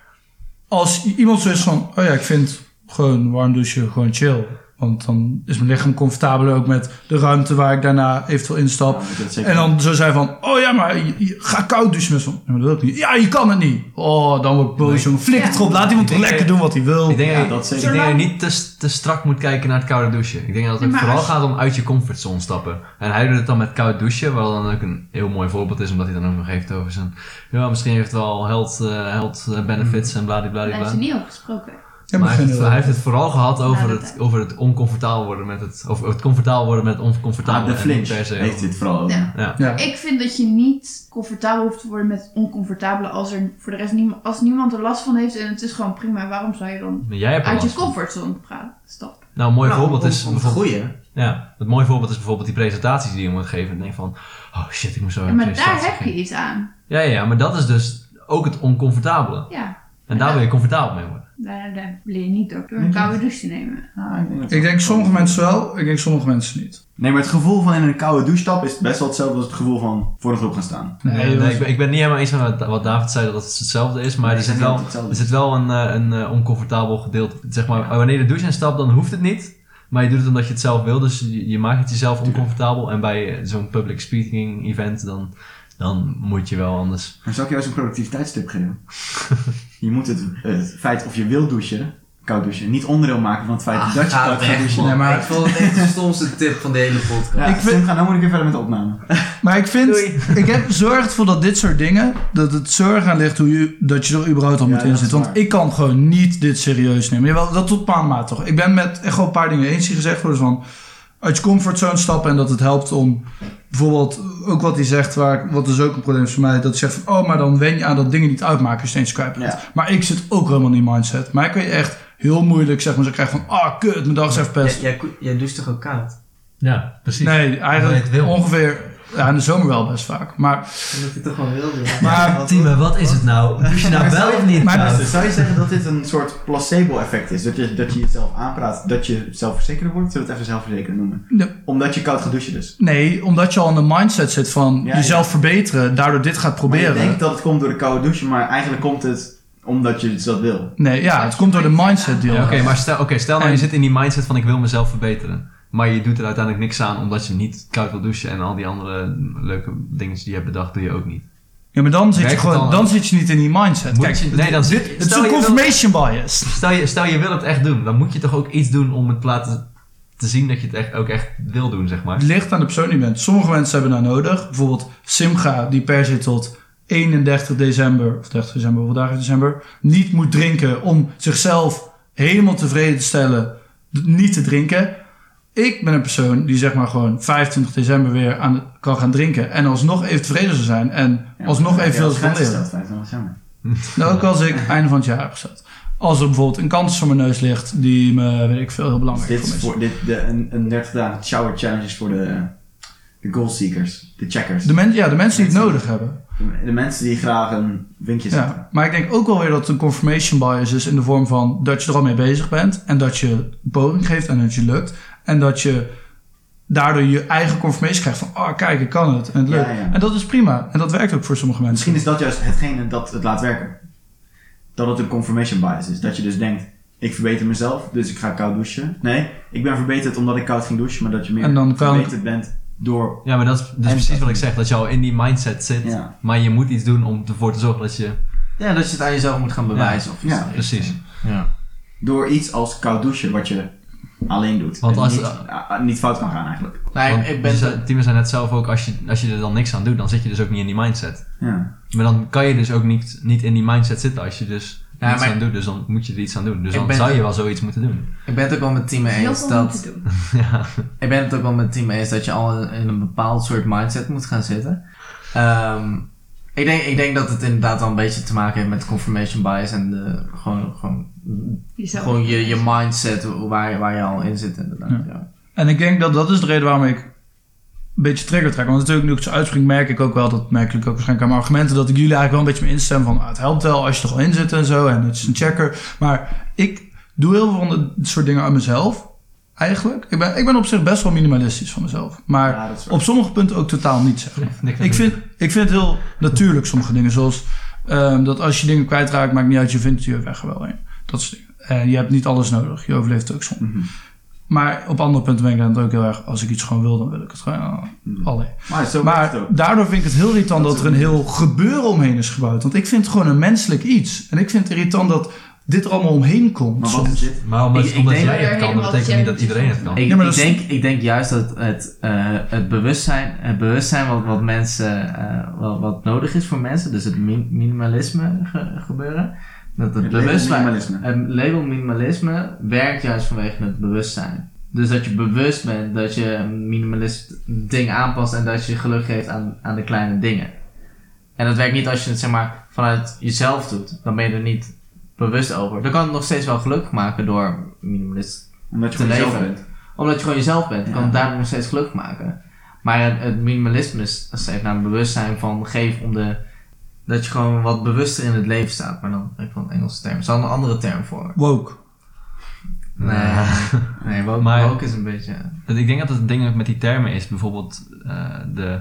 als i- iemand zo is van, oh ja, ik vind gewoon warm douchen gewoon chill. Want dan is mijn lichaam comfortabeler ook met de ruimte waar ik daarna eventueel instap.
Ja, moet je dat zeker
en dan zo zijn van, oh ja, maar je, je- ga koud douchen. Met zo'n, "Ja, maar dat wil ik niet. Ja, je kan het niet. Oh, dan word ik boos, jongen. Flikker het erop. Laat iemand toch
Ik denk
lekker
dat-
doen wat hij wil.
Ik denk,
Ja,
dat,
dat
ik
zeker.
denk dat je niet te, te strak moet kijken naar het koude douchen. Ik denk dat het
Ja, maar
vooral
als-
gaat om uit je comfortzone stappen. En hij doet het dan met koud douchen, wat dan ook een heel mooi voorbeeld is, omdat hij dan ook nog heeft over zijn. Ja, misschien heeft het wel health, eh, health eh, benefits en
Daar
bladibladibla.
heeft je niet over gesproken.
Ja,
maar
maar
hij heeft,
vinden
het,
we-
hij heeft het vooral gehad over
dat
het,
hij-
over het oncomfortabel worden met het. Of het comfortabel worden met het oncomfortabel.
Ah, de
en
flinch
per se.
heeft dit vooral over.
Ja.
Ja.
Ja.
Ik vind dat je niet comfortabel hoeft te worden met het oncomfortabele als er voor de rest niemand, als niemand er last van heeft en het is gewoon prima. Waarom zou je dan
Maar jij hebt er
uit je
last van.
comfortzone praten? Stap.
Nou, een mooi
Nou,
voorbeeld
om-
is.
Om te
bijvoorbeeld-
groeien.
Ja, het mooie voorbeeld is bijvoorbeeld die presentaties die je moet geven. En denk van, oh shit, ik moet zo
Ja,
een
maar
presentatie
daar heb
geven.
je iets aan.
Ja, ja, ja, maar dat is dus ook het oncomfortabele.
Ja,
En daar wil je comfortabel mee worden.
daar, daar leer je niet door, door een koude douche te nemen.
Ah, ik denk dat-
Ik denk sommige mensen wel, ik denk sommige mensen niet.
Nee, maar het gevoel van in een koude douche stappen is best wel hetzelfde als het gevoel van voor een groep gaan staan.
Nee,
Nee,
nee,
jongens.
ik, ben, ik ben niet helemaal eens met wat- wat David zei, dat het hetzelfde is.
Nee,
Maar er,
ik
zit
denk
wel,
dat het hetzelfde
er zit wel een, eh, een eh, oncomfortabel gedeelte. Zeg maar, wanneer je de douche instapt, dan hoeft het niet. Maar je doet het omdat je het zelf wil, dus je, je maakt het jezelf oncomfortabel. En bij eh, zo'n public speaking event, dan, dan moet je wel anders.
Maar zal ik jou eens een productiviteitstip geven? je moet het, het feit of je wil douchen, koud douchen, niet onderdeel maken van het feit dat je
ga
koud gaat
weg,
douchen.
man.
Ah, Nee, maar-
Ik vond het echt de stomste tip van de hele podcast.
Ja,
Ik
ik
vind-
vind... ga nou moet ik weer verder met de opname.
Maar ik vind, ik heb zorg ervoor dat dit soort dingen, dat het zorg aan ligt hoe je, dat je er überhaupt al
Ja,
moet
dat is
inzetten. Want
waar.
ik kan gewoon niet dit serieus nemen. Jawel, dat tot een bepaalde maat toch. Ik ben met echt wel een paar dingen eens die gezegd worden. Dus Van uit je comfortzone stappen en dat het helpt om bijvoorbeeld ook wat hij zegt, waar, ik- wat dus ook een probleem is voor mij, dat hij zegt van, oh, maar dan wen je aan dat dingen niet uitmaken als je steeds kwijt bent.
Ja.
Maar ik zit ook helemaal in die mindset. Maar ik weet echt heel moeilijk, zeg maar, zo krijg van, ah, kut, mijn dag is even
Jij,
best.
jij, ko- jij doucht toch ook koud?
Ja, precies.
Nee,
Omdat je het
eigenlijk
wil.
ongeveer, ja, in de zomer wel best vaak. Maar
Omdat ik toch gewoon wilde.
Maar,
wat-
wat is het nou? Douche
nou wel of niet?
Maar-
Dus zou je zeggen dat dit een soort placebo-effect is? Dat je, dat je jezelf aanpraat, dat je zelfverzekerder wordt? Zullen we het even zelfverzekerd noemen?
Ja.
Omdat je koud gaat douchen dus.
Nee, omdat je al in de mindset zit van
Ja,
jezelf verbeteren, daardoor dit gaat
Maar je
proberen.
denkt dat het komt door de koude douche, maar eigenlijk komt het omdat je dat wil.
Nee, ja, het komt door de mindset deal.
Ja, Oké, maar stel, oké, stel nou,
En-
je zit in die mindset van ik wil mezelf verbeteren. Maar je doet er uiteindelijk niks aan omdat je niet koud wil douchen. En al die andere leuke dingen die je hebt bedacht, doe je ook niet.
Ja, maar dan zit je
Werkt het
gewoon, dan,
dan?
zit je niet in die mindset.
Moet
Kijk,
je- nee, dan zit
het is een confirmation bias.
Stel je, stel je wil het echt doen, dan moet je toch ook iets doen om het laten te zien dat je het echt, ook echt wil doen, zeg maar.
Het ligt aan de persoon die je bent. Sommige mensen hebben daar nodig. Bijvoorbeeld Simga, die per se tot 31 december, of 30 december, hoeveel dagen is december, niet moet drinken om zichzelf helemaal tevreden te stellen, d- niet te drinken. Ik ben een persoon die zeg maar gewoon 25 december weer aan, de- kan gaan drinken en alsnog even tevreden zou zijn en alsnog even veel
van
van leren.
Dat is jammer.
Nou, ook als ik einde van het jaar heb gezet. Als er bijvoorbeeld een kans voor mijn neus ligt die me, weet ik veel, heel belangrijk
Dit
voor
is
mensen.
voor, dit, de, een, een 30 dagen shower challenge is voor de, de goal seekers, de checkers.
De,
De,
men, ja, de mensen die het nodig hebben.
de mensen die graag een winkje zetten.
Ja, maar ik denk ook wel weer dat het een confirmation bias is in de vorm van dat je er al mee bezig bent en dat je een poging geeft en dat je lukt en dat je daardoor je eigen confirmation krijgt van oh kijk ik kan het en het
Ja,
lukt
ja.
en dat is prima en dat werkt ook voor sommige mensen.
Misschien is dat juist hetgene dat het laat werken. Dat het een confirmation bias is. Dat je dus denkt, ik verbeter mezelf, dus ik ga koud douchen. Nee, ik ben verbeterd omdat ik koud ging douchen, maar dat je meer
En dan kan-
verbeterd bent door...
Ja, maar dat is, dat is
En-
precies wat ik zeg, dat je al in die mindset zit.
Ja.
Maar je moet iets doen om ervoor te zorgen dat je...
Ja, dat je het aan jezelf moet gaan bewijzen. Of iets.
Ja,
Precies.
door iets als koud douchen, wat je alleen doet.
Want
En
als-
niet, ah, niet fout kan gaan eigenlijk.
Nee,
Want
Nou, ik, ik ben
je zei- Timo zei net zelf ook, als je, als je er dan niks aan doet, dan zit je dus ook niet in die mindset.
Ja.
Maar dan kan je dus ook niet, niet in die mindset zitten als je dus
Ja,
niets
maar-
aan doet. Dus dan moet je er iets aan doen. Dus
Ik
dan
ben-
zou je wel zoiets moeten doen.
ik ben het ook wel met Team
Dat is heel
eens
veel om
dat...
te doen.
ja.
Ik ben het ook wel met Team eens dat je al in een bepaald soort mindset moet gaan zitten. Ehm, ik, denk, ik denk dat het inderdaad wel een beetje te maken heeft met confirmation bias en de, gewoon, gewoon,
Jezelf.
gewoon je, je mindset waar, waar je al in zit inderdaad. Ja.
En ik denk dat dat is de reden waarom ik een beetje trigger trek. Want natuurlijk, nu ik het zo uitspring, merk ik ook wel, dat merk jullie ook waarschijnlijk aan mijn argumenten, dat ik jullie eigenlijk wel een beetje mee instem van ah, het helpt wel als je er al in zit en zo. En het is een checker. Maar ik doe heel veel van dit soort dingen aan mezelf. Eigenlijk. Ik ben, ik ben op zich best wel minimalistisch van mezelf. Maar
Ja, dat is waar.
op sommige punten ook totaal niet, zeg maar.
niks aan
Ik
doen.
vind, ik vind het heel natuurlijk sommige dingen. Zoals ehm, dat als je dingen kwijtraakt,
Mhm.
maakt niet uit, je vindt je weg er wel in. Dat soort dingen. En je hebt niet alles nodig. Je overleeft ook soms. Maar op andere punten ben ik dan ook heel erg... Als ik iets gewoon wil, dan wil ik het gewoon. eh, Allee.
Maar zo werkt
Maar
het ook.
daardoor vind ik het heel irritant dat er een heel gebeuren omheen is gebouwd. Want ik vind het gewoon een menselijk iets. En ik vind het irritant dat dit er allemaal omheen komt.
Maar wat
soms.
is dit?
Maar omdat,
Ik- ik
omdat
denk
jij
dat
het
er
kan, dat
helemaal
betekent niet dat
geen-
iedereen het kan.
Ik,
Ja, maar
ik,
dat is-
denk, ik denk juist dat het, eh, het bewustzijn, het bewustzijn wat, wat mensen, eh, wat, wat nodig is voor mensen, dus het min- minimalisme ge- gebeuren, dat het,
Het label
bewustzijn,
minimalisme.
het label minimalisme werkt juist vanwege het bewustzijn. Dus dat je bewust bent dat je een minimalist ding aanpast en dat je geluk geeft aan, aan de kleine dingen. En dat werkt niet als je het zeg maar vanuit jezelf doet, dan ben je er niet bewust over. Dan kan het nog steeds wel geluk maken door minimalist
Omdat je
te
gewoon zelf
leven.
bent.
omdat je gewoon jezelf bent,
Ja.
kan het daarom nog steeds geluk maken. Maar het, het minimalisme is- streeft naar een bewustzijn van geef om de. dat je gewoon wat bewuster in het leven staat. Maar dan heb ik wel een Engelse term. Er is wel een andere term voor.
Woke.
Nee, nee woke,
Maar-
woke is een beetje.
Dat- Ik denk dat het ding ook met die termen is, bijvoorbeeld eh, de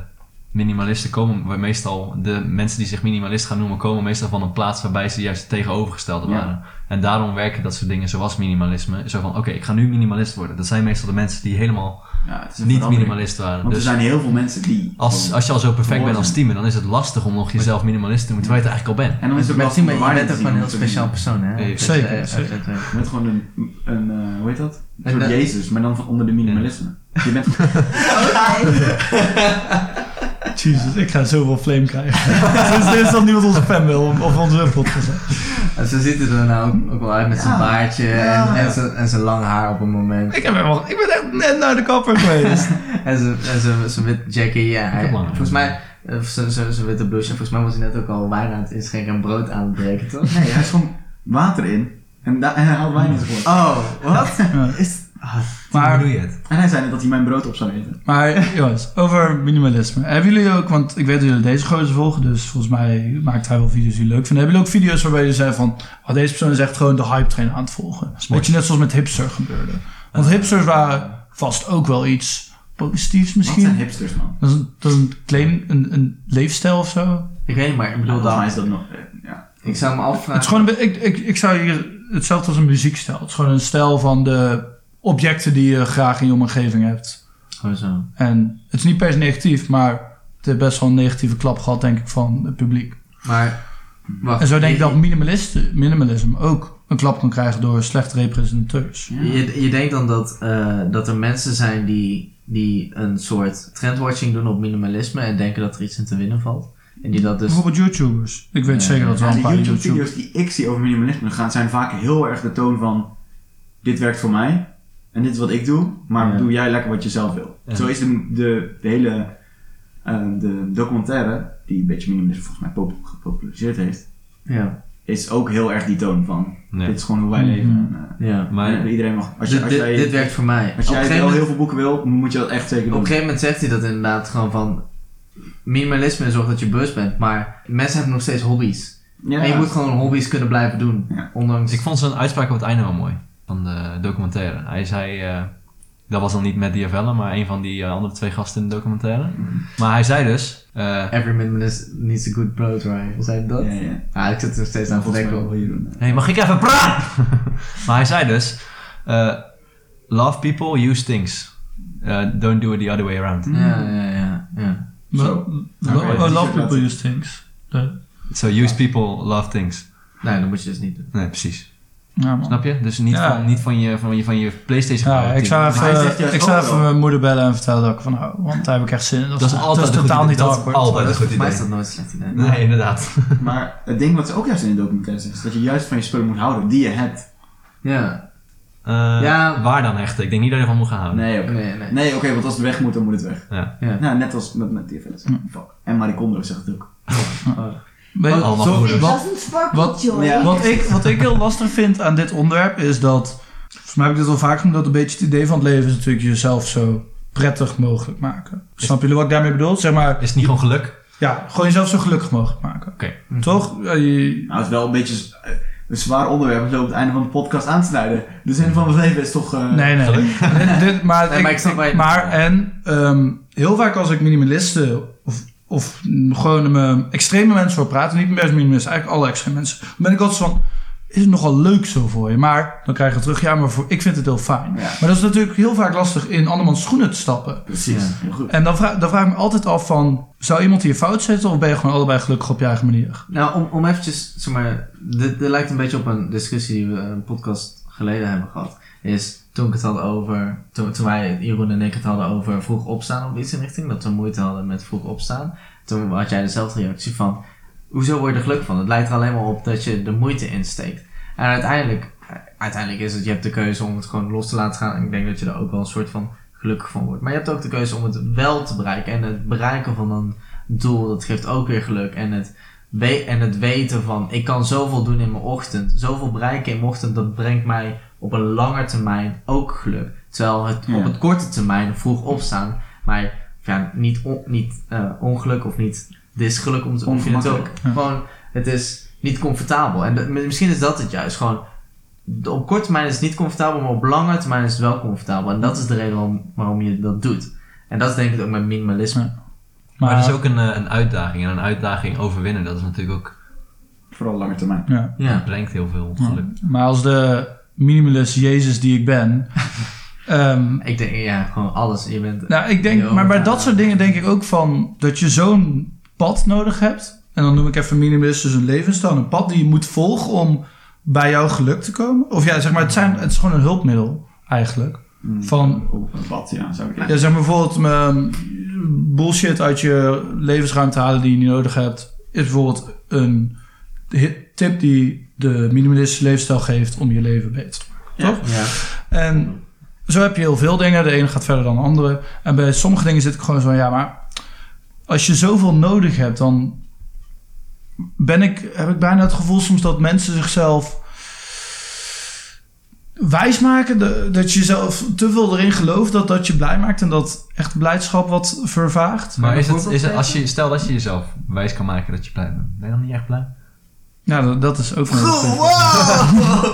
minimalisten komen waar meestal, de mensen die zich minimalist gaan noemen, komen meestal van een plaats waarbij ze juist het tegenovergestelde
Ja.
waren. En daarom werken dat soort dingen zoals minimalisme. Zo van, oké, ik ga nu minimalist worden. Dat zijn meestal de mensen die helemaal
Ja, het is een
niet
verandering.
minimalist waren.
Want er
Dus
zijn heel veel mensen die...
als, als je al zo perfect
Mooi
bent als
zijn.
Timen, dan is het lastig om nog jezelf minimalist te noemen, terwijl je het eigenlijk al bent.
En dan is het
Met
lastig om
Simon, je
waarde
bent
te
ook
zien,
gewoon een heel
om te
speciaal
zien.
persoon, hè?
Nee,
Dat-
zeker,
eh,
zeker.
dat- eh,
Je bent gewoon een, een eh, hoe heet dat? Een
En
soort
dat-
Jezus, maar dan van onder de minimalisme. Je bent
Jezus, ik ga zoveel flame krijgen. dus dit is dat niemand onze fan wil of onze podcast.
en Ze zitten er nou ook, ook wel uit met zijn
Ja.
baardje
Ja.
en, en, zijn, en zijn lang haar op een moment.
Ik, heb helemaal, ik ben echt net naar de kapper geweest.
En zijn, en zijn, zijn wit jackie, ja.
heb
Hij,
lang.
volgens mij, eh, zijn, zijn, zijn witte blouse. En volgens mij was hij net ook al wijn aan het inschenken en brood aan het breken, toch?
Nee, hij is gewoon water in. En, da- en hij haalt wijn in zijn brood.
Oh, wat?
Ja.
Is...
Hoe
Maar,
doe je het?
En hij zei net dat hij mijn brood op zou eten.
maar jongens, over minimalisme. Hebben jullie ook, want ik weet dat jullie deze gozer volgen, dus volgens mij maakt hij wel video's die leuk vinden. Hebben jullie ook video's waarbij jullie zeggen van, oh, deze persoon is echt gewoon de hype train aan het volgen. Weet je, net zoals met hipster gebeurde. Want hipsters waren vast ook wel iets positiefs
Wat
misschien.
zijn hipsters, man?
Dat is een, dat is een, klein, een, een leefstijl of zo.
Ik weet niet, maar ik bedoel
Volgens mij
dan...
is dat nog... eh, ja.
Ik zou me afvragen...
Het is gewoon een, be- ik, ik, ik zou hier hetzelfde als een muziekstijl. Het is gewoon een stijl van de objecten die je graag in je omgeving hebt.
Oh,
Gewoon zo.
En het is niet per se negatief, maar het heeft best wel een negatieve klap gehad, denk ik, van het publiek.
Maar... Wacht,
En zo denk ik
je-
dat minimalist, minimalisme ook een klap kan krijgen door slechte representateurs.
Je, je denkt dan dat, eh, dat er mensen zijn die, die een soort trendwatching doen op minimalisme en denken dat er iets in te winnen valt. En die dat dus...
Bijvoorbeeld YouTubers. Ik weet
Ja,
zeker dat er wel
Ja,
een
de
paar YouTubers...
YouTube-video's die ik zie over minimalisme gaan, zijn vaak heel erg de toon van... Dit werkt voor mij. En dit is wat ik doe. Maar
Ja.
doe jij lekker wat je zelf wil.
Ja.
Zo is de, de, de hele eh, de documentaire... die een beetje minimalisme volgens mij pop- gepopulariseerd heeft...
Ja,
is ook heel erg die toon van...
Ja.
Dit is gewoon hoe wij leven. En, eh,
ja.
Maar
en iedereen mag... Als, je,
Mhm. Dit-
als
dit,
jij,
dit werkt voor mij.
als
Op een
jij
gegeven
wel
moment-
heel veel boeken wil, moet je dat echt zeker
Op een
doen.
gegeven moment zegt hij dat inderdaad gewoon van... Minimalisme zorgt dat je bewust bent, maar mensen hebben nog steeds hobby's.
Ja.
En je moet gewoon hobby's kunnen blijven doen.
Ja.
Ondanks...
Ik vond zijn uitspraak op het einde wel mooi. Van de documentaire. Hij zei... eh, dat was dan niet met Diavella, maar een van die eh, andere twee gasten in de documentaire.
Mhm.
Maar hij zei dus... eh,
Every minimalist needs a good bro try. Was hij dat?
Ja, ja.
Ah, ik zit er steeds aan te
Volgens mij
denken.
wel hier doen.
Hé, hey, mag ik even praten? maar hij zei dus... eh, Love people, use things. Eh, don't do it the other way around.
Mhm.
Mm.
Ja, ja, ja. ja.
Maar-
Zo.
Lo-
Oké,
oh,
dus
love
je
people
laat-
use things. De-
So use people, love things.
Nee, dat moet je dus niet doen.
Nee, precies.
ja, man.
Snap je? Dus niet,
Ja.
van, niet van, je, van, je, van je Playstation
Ja,
gebruik.
ik zou
Maar hij zegt
even,
juist
ik zou
ook
even
wel.
mijn moeder bellen en vertellen dat ik van hou. Want daar heb ik echt zin in. Dat,
Dat is altijd een goed
totaal
idee.
niet
Dat is
awkward.
altijd.
Maar dat is
goed
voor mij is
idee.
dat nooit een slecht idee.
Nee, inderdaad.
Maar het ding wat ze ook juist in de documentaire zeggen, is dat je juist van je spullen moet houden die je hebt.
Ja.
Eh,
Ja.
Waar dan hechten? Ik denk niet dat je ervan moet gaan houden.
Oh, Nee, oké.
Nee, nee.
Nee, oké, want als het weg moet, dan moet het weg.
Ja.
Ja.
Nou, net als met, met die fans. Fuck. En Marie Kondo zegt het ook.
Weet je-
Allemaal
zo-
goeders.
wat-
Dat is een sparkle
wat-
joy.
Ja.
Wat ik, wat ik heel lastig vind aan dit onderwerp is dat. Volgens mij heb ik dit al vaak genoemd. Dat een beetje het idee van het leven is natuurlijk jezelf zo prettig mogelijk maken. Snap jullie wat ik daarmee bedoel? Zeg maar,
Is het niet gewoon geluk?
ja, gewoon jezelf zo gelukkig mogelijk maken.
Oké.
Toch? Ja, je-
Nou, het is wel een beetje z- eh, een zwaar onderwerp om zo op het einde van de podcast aan te snijden. De zin van het leven is toch... eh,
Nee, nee. Dit- dit- maar,
Nee,
ik-
maar ik snap waar je-
maar en ehm, heel vaak als ik minimalisten of, of mm, gewoon ehm, extreme mensen hoor praten, niet best minimalisten, eigenlijk alle extreme mensen, dan ben ik altijd zo van. is het nogal leuk zo voor je. Maar dan krijg je terug, ja, maar voor, ik vind het heel fijn.
Ja.
Maar dat is natuurlijk heel vaak lastig in andermans schoenen te stappen.
Precies. Heel goed.
En dan vraag, dan vraag ik me altijd af van, zou iemand hier fout zitten of ben je gewoon allebei gelukkig op je eigen manier?
Nou, om, om eventjes, zeg maar, dit, dit lijkt een beetje op een discussie die we een podcast geleden hebben gehad. Is toen ik het had over, toen, toen wij, Jeroen en ik het hadden over vroeg opstaan of iets in die richting, dat we moeite hadden met vroeg opstaan. Toen had jij dezelfde reactie van, hoezo word je er gelukkig van? Het lijkt er alleen maar op dat je de moeite insteekt. En uiteindelijk, uiteindelijk is het, je hebt de keuze om het gewoon los te laten gaan. En ik denk dat je er ook wel een soort van gelukkig van wordt. Maar je hebt ook de keuze om het wel te bereiken. En het bereiken van een doel, dat geeft ook weer geluk. En het we- en het weten van ik kan zoveel doen in mijn ochtend, zoveel bereiken in mijn ochtend, dat brengt mij op een lange termijn ook geluk. Terwijl het
Ja.
op het korte termijn vroeg opstaan, maar ja, niet, on- niet eh, ongeluk of niet disgeluk om te om je het ook.
Ongemakkelijk,
Gewoon, het is niet comfortabel. En dat- misschien is dat het juist. Gewoon, op korte termijn is het niet comfortabel, maar op lange termijn is het wel comfortabel. En dat is de reden waarom, waarom je dat doet. En dat is denk ik ook met minimalisme.
Maar, het is ook een, eh, een uitdaging. En een uitdaging overwinnen, dat is natuurlijk ook...
Vooral lange termijn.
Ja.
Ja.
brengt heel veel geluk.
Maar als de minimalist Jezus die ik ben. ehm,
Ik denk, ja, gewoon alles. Je bent
nou, ik denk,
Yo,
maar bij
ja.
dat soort dingen denk ik ook van dat je zo'n pad nodig hebt. En dan noem ik even minimalist dus een levensstijl, een pad die je moet volgen om bij jouw geluk te komen. Of ja, zeg maar, het, zijn, het is gewoon een hulpmiddel eigenlijk. Van,
Op Mm. Oh, een pad, ja, zou ik
ja, zeg maar bijvoorbeeld ehm, bullshit uit je levensruimte halen die je niet nodig hebt. Is bijvoorbeeld een hit- tip die de minimalistische levensstijl geeft om je leven beter te maken. Toch?
Ja.
En zo heb je heel veel dingen. De ene gaat verder dan de andere. En bij sommige dingen zit ik gewoon zo van... Ja, maar als je zoveel nodig hebt, dan ben ik, heb ik bijna het gevoel soms dat mensen zichzelf wijs maken. de- dat je zelf te veel erin gelooft dat dat je blij maakt. En dat echt blijdschap wat vervaagt.
Maar
een
is het,
voorbeeld
is het, als
geven?
je, stel dat je jezelf wijs kan maken dat je blij bent. Ben je dan niet echt blij?
Ja, dat, dat is ook een heel goed.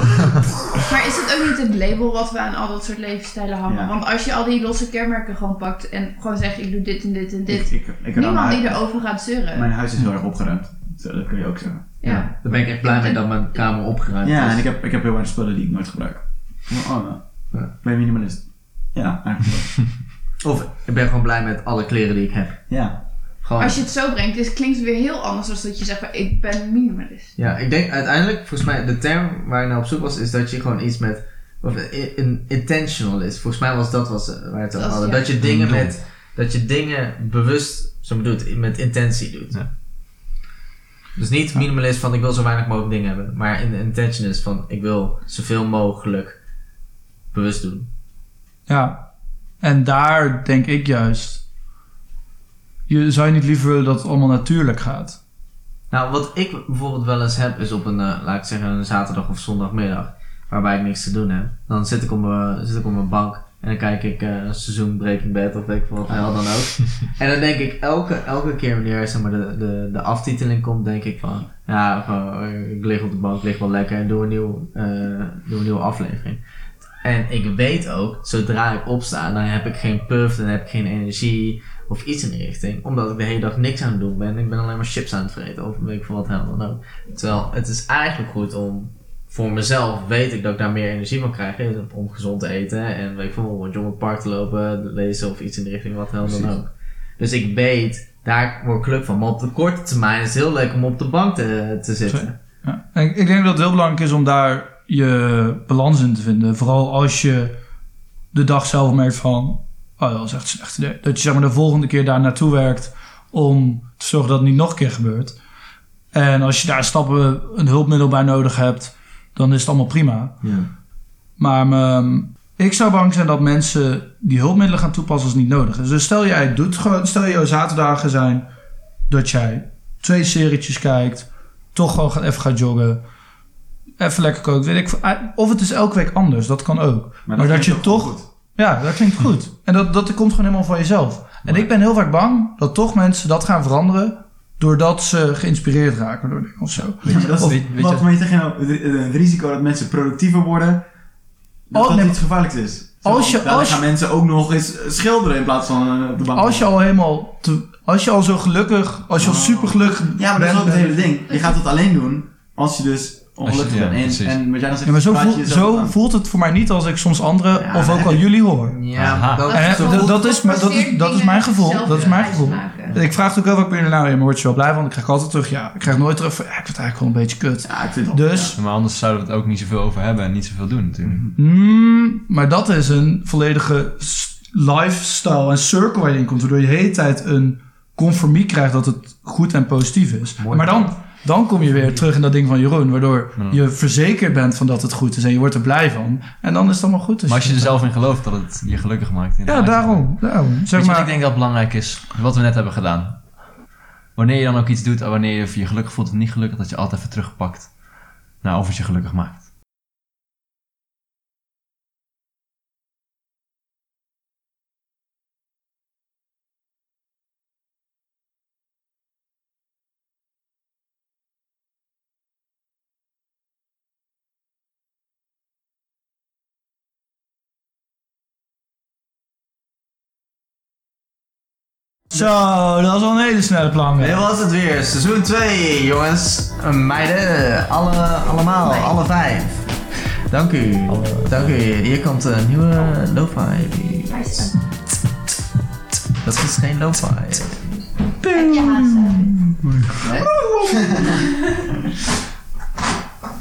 Maar is het ook niet het label wat we aan al dat soort levensstijlen hangen?
Ja.
Want als je al die losse kenmerken gewoon pakt en gewoon zegt ik doe dit en dit en dit.
Ik, ik, ik heb aan
niemand
mijn-
die erover gaat zeuren.
Mijn huis is heel erg opgeruimd. Zo, Dat kun je ook zeggen.
ja.
Daar ben ik echt blij mee dat mijn kamer opgeruimd
Ja,
is.
en ik heb, ik heb heel weinig spullen die ik nooit gebruik. Oh, oh,
Ja.
ja. Ben je minimalist? Ja, eigenlijk wel.
Of ik ben gewoon blij met alle kleren die ik heb.
Ja.
Gewoon.
Als je het zo brengt, is, klinkt het weer heel anders dan dat je zegt van, ik ben minimalist.
Ja, ik denk uiteindelijk, volgens mij, de term waar ik naar op zoek was, is dat je gewoon iets met. Of i- een intentional is. Volgens mij was dat was, waar we het over
Dat is-
hadden.
ja.
Dat je dingen
Een doel.
met. Dat je dingen bewust, zo bedoeld, met intentie doet.
Ja.
Dus niet minimalist van ik wil zo weinig mogelijk dingen hebben. Maar in de intention is van ik wil zoveel mogelijk bewust doen.
Ja, en daar denk ik juist. Je zou je niet liever willen dat het allemaal natuurlijk gaat.
Nou, wat ik bijvoorbeeld wel eens heb, is op een, eh, laat ik zeggen, een zaterdag of zondagmiddag, waarbij ik niks te doen heb. Dan zit ik op mijn, zit ik op mijn bank en dan kijk ik eh, een seizoen Breaking Bad of weet ik veel wat de hel dan ook. en dan denk ik elke, elke keer wanneer zeg maar, de, de, de aftiteling komt, denk ik van, ja, gewoon, eh, ik lig op de bank, lig wel lekker en doe een, nieuw, eh, doe een nieuwe aflevering. En ik weet ook, zodra ik opsta, dan heb ik geen puff, dan heb ik geen energie of iets in die richting. Omdat ik de hele dag niks aan het doen ben. Ik ben alleen maar chips aan het vreten of weet ik veel wat helemaal dan ook. Terwijl het is eigenlijk goed om, voor mezelf weet ik dat ik daar meer energie van krijg. eh, Om gezond te eten en weet ik veel, om een jong in het park te lopen, lezen of iets in die richting, wat helemaal dan
Precies.
ook. Dus ik weet, daar word ik geluk van. Maar op de korte termijn is het heel leuk om op de bank te, te zitten.
Ja. En ik, ik denk dat het heel belangrijk is om daar je balans in te vinden. Vooral als je de dag zelf merkt van... Oh, dat was echt een slecht idee. Dat je zeg maar, de volgende keer daar naartoe werkt... om te zorgen dat het niet nog een keer gebeurt. En als je daar stappen een hulpmiddel bij nodig hebt... dan is het allemaal prima.
Ja.
Maar ehm, ik zou bang zijn dat mensen die hulpmiddelen gaan toepassen als het niet nodig is. Dus stel jij doet gewoon, stel jouw zaterdagen zijn dat jij twee serietjes kijkt, toch gewoon gaat, even gaat joggen, even lekker kookt, weet ik. veel. Ah, Of het is elke week anders, dat kan ook. Maar dat
klinkt
je
ook
toch-
wel goed.
Ja, dat
Hm.
klinkt goed. En dat, dat komt gewoon helemaal van jezelf. En ik ben heel vaak bang dat toch mensen dat gaan veranderen doordat ze geïnspireerd raken door dingen of zo.
Weet je, dat is
Of-
weet- weet
wat
je-
moet je nou? tegen jou- het- het risico dat mensen productiever worden. Dat
Oh,
dat
nee,
iets gevaarlijks is. Zo,
Als je-
daarna
als
gaan
je-
mensen ook nog eens schilderen in plaats van eh, op de bank.
Als je al helemaal, te- als je al zo gelukkig, als je al
Oh.
super gelukkig
Ja, maar dat is ook het hele ding. Je gaat dat alleen doen als je dus ongelukkig
ja,
bent. En,
precies.
en, maar jij dan zegt,
Ja, maar zo,
praat je
voel-
jezelf
zo
aan.
voelt het voor mij niet als ik soms anderen
Ja,
of ook al jullie hoor.
Ja,
Aha.
dat,
Eh,
zo-
dat- dat is- maar dat is-
Forceert
dat is
dingen
mijn gevoel.
zelf
Dat is mijn
eruit
gevoel.
maken.
Ik vraag het ook heel vaak bij jullie nou, ja, maar word je wel blij van? Ik krijg altijd terug, ja. Ik krijg nooit terug, van, ja, ik vind het eigenlijk wel een beetje kut.
Ja, ik vind het wel-
Dus,
Maar anders zouden we het ook niet zoveel over hebben en niet zoveel doen natuurlijk.
mm, maar dat is een volledige s- lifestyle en circle waar je in komt. Waardoor je de hele tijd een conformie krijgt dat het goed en positief is.
Mooi.
maar dan, dan kom je weer terug in dat ding van Jeroen. Waardoor
Ja.
je verzekerd bent van dat het goed is en je wordt er blij van. En dan is het allemaal goed. Dus
Maar als je er zelf in gelooft dat het je gelukkig maakt.
Ja,
inderdaad.
daarom. daarom.
Weet
Zeg
je wat
maar,
ik denk dat belangrijk is? Wat we net hebben gedaan. Wanneer je dan ook iets doet en wanneer je je gelukkig voelt of niet gelukkig, dat je altijd even terugpakt naar of het je gelukkig maakt.
Zo, dat was wel een hele snelle plan.
Dit was het weer, seizoen 2, jongens. Meiden, alle, allemaal, alle vijf. Dank u. Dank u. Hier komt een nieuwe lo-fi. Dat is geen lo-fi.
Heb je haast?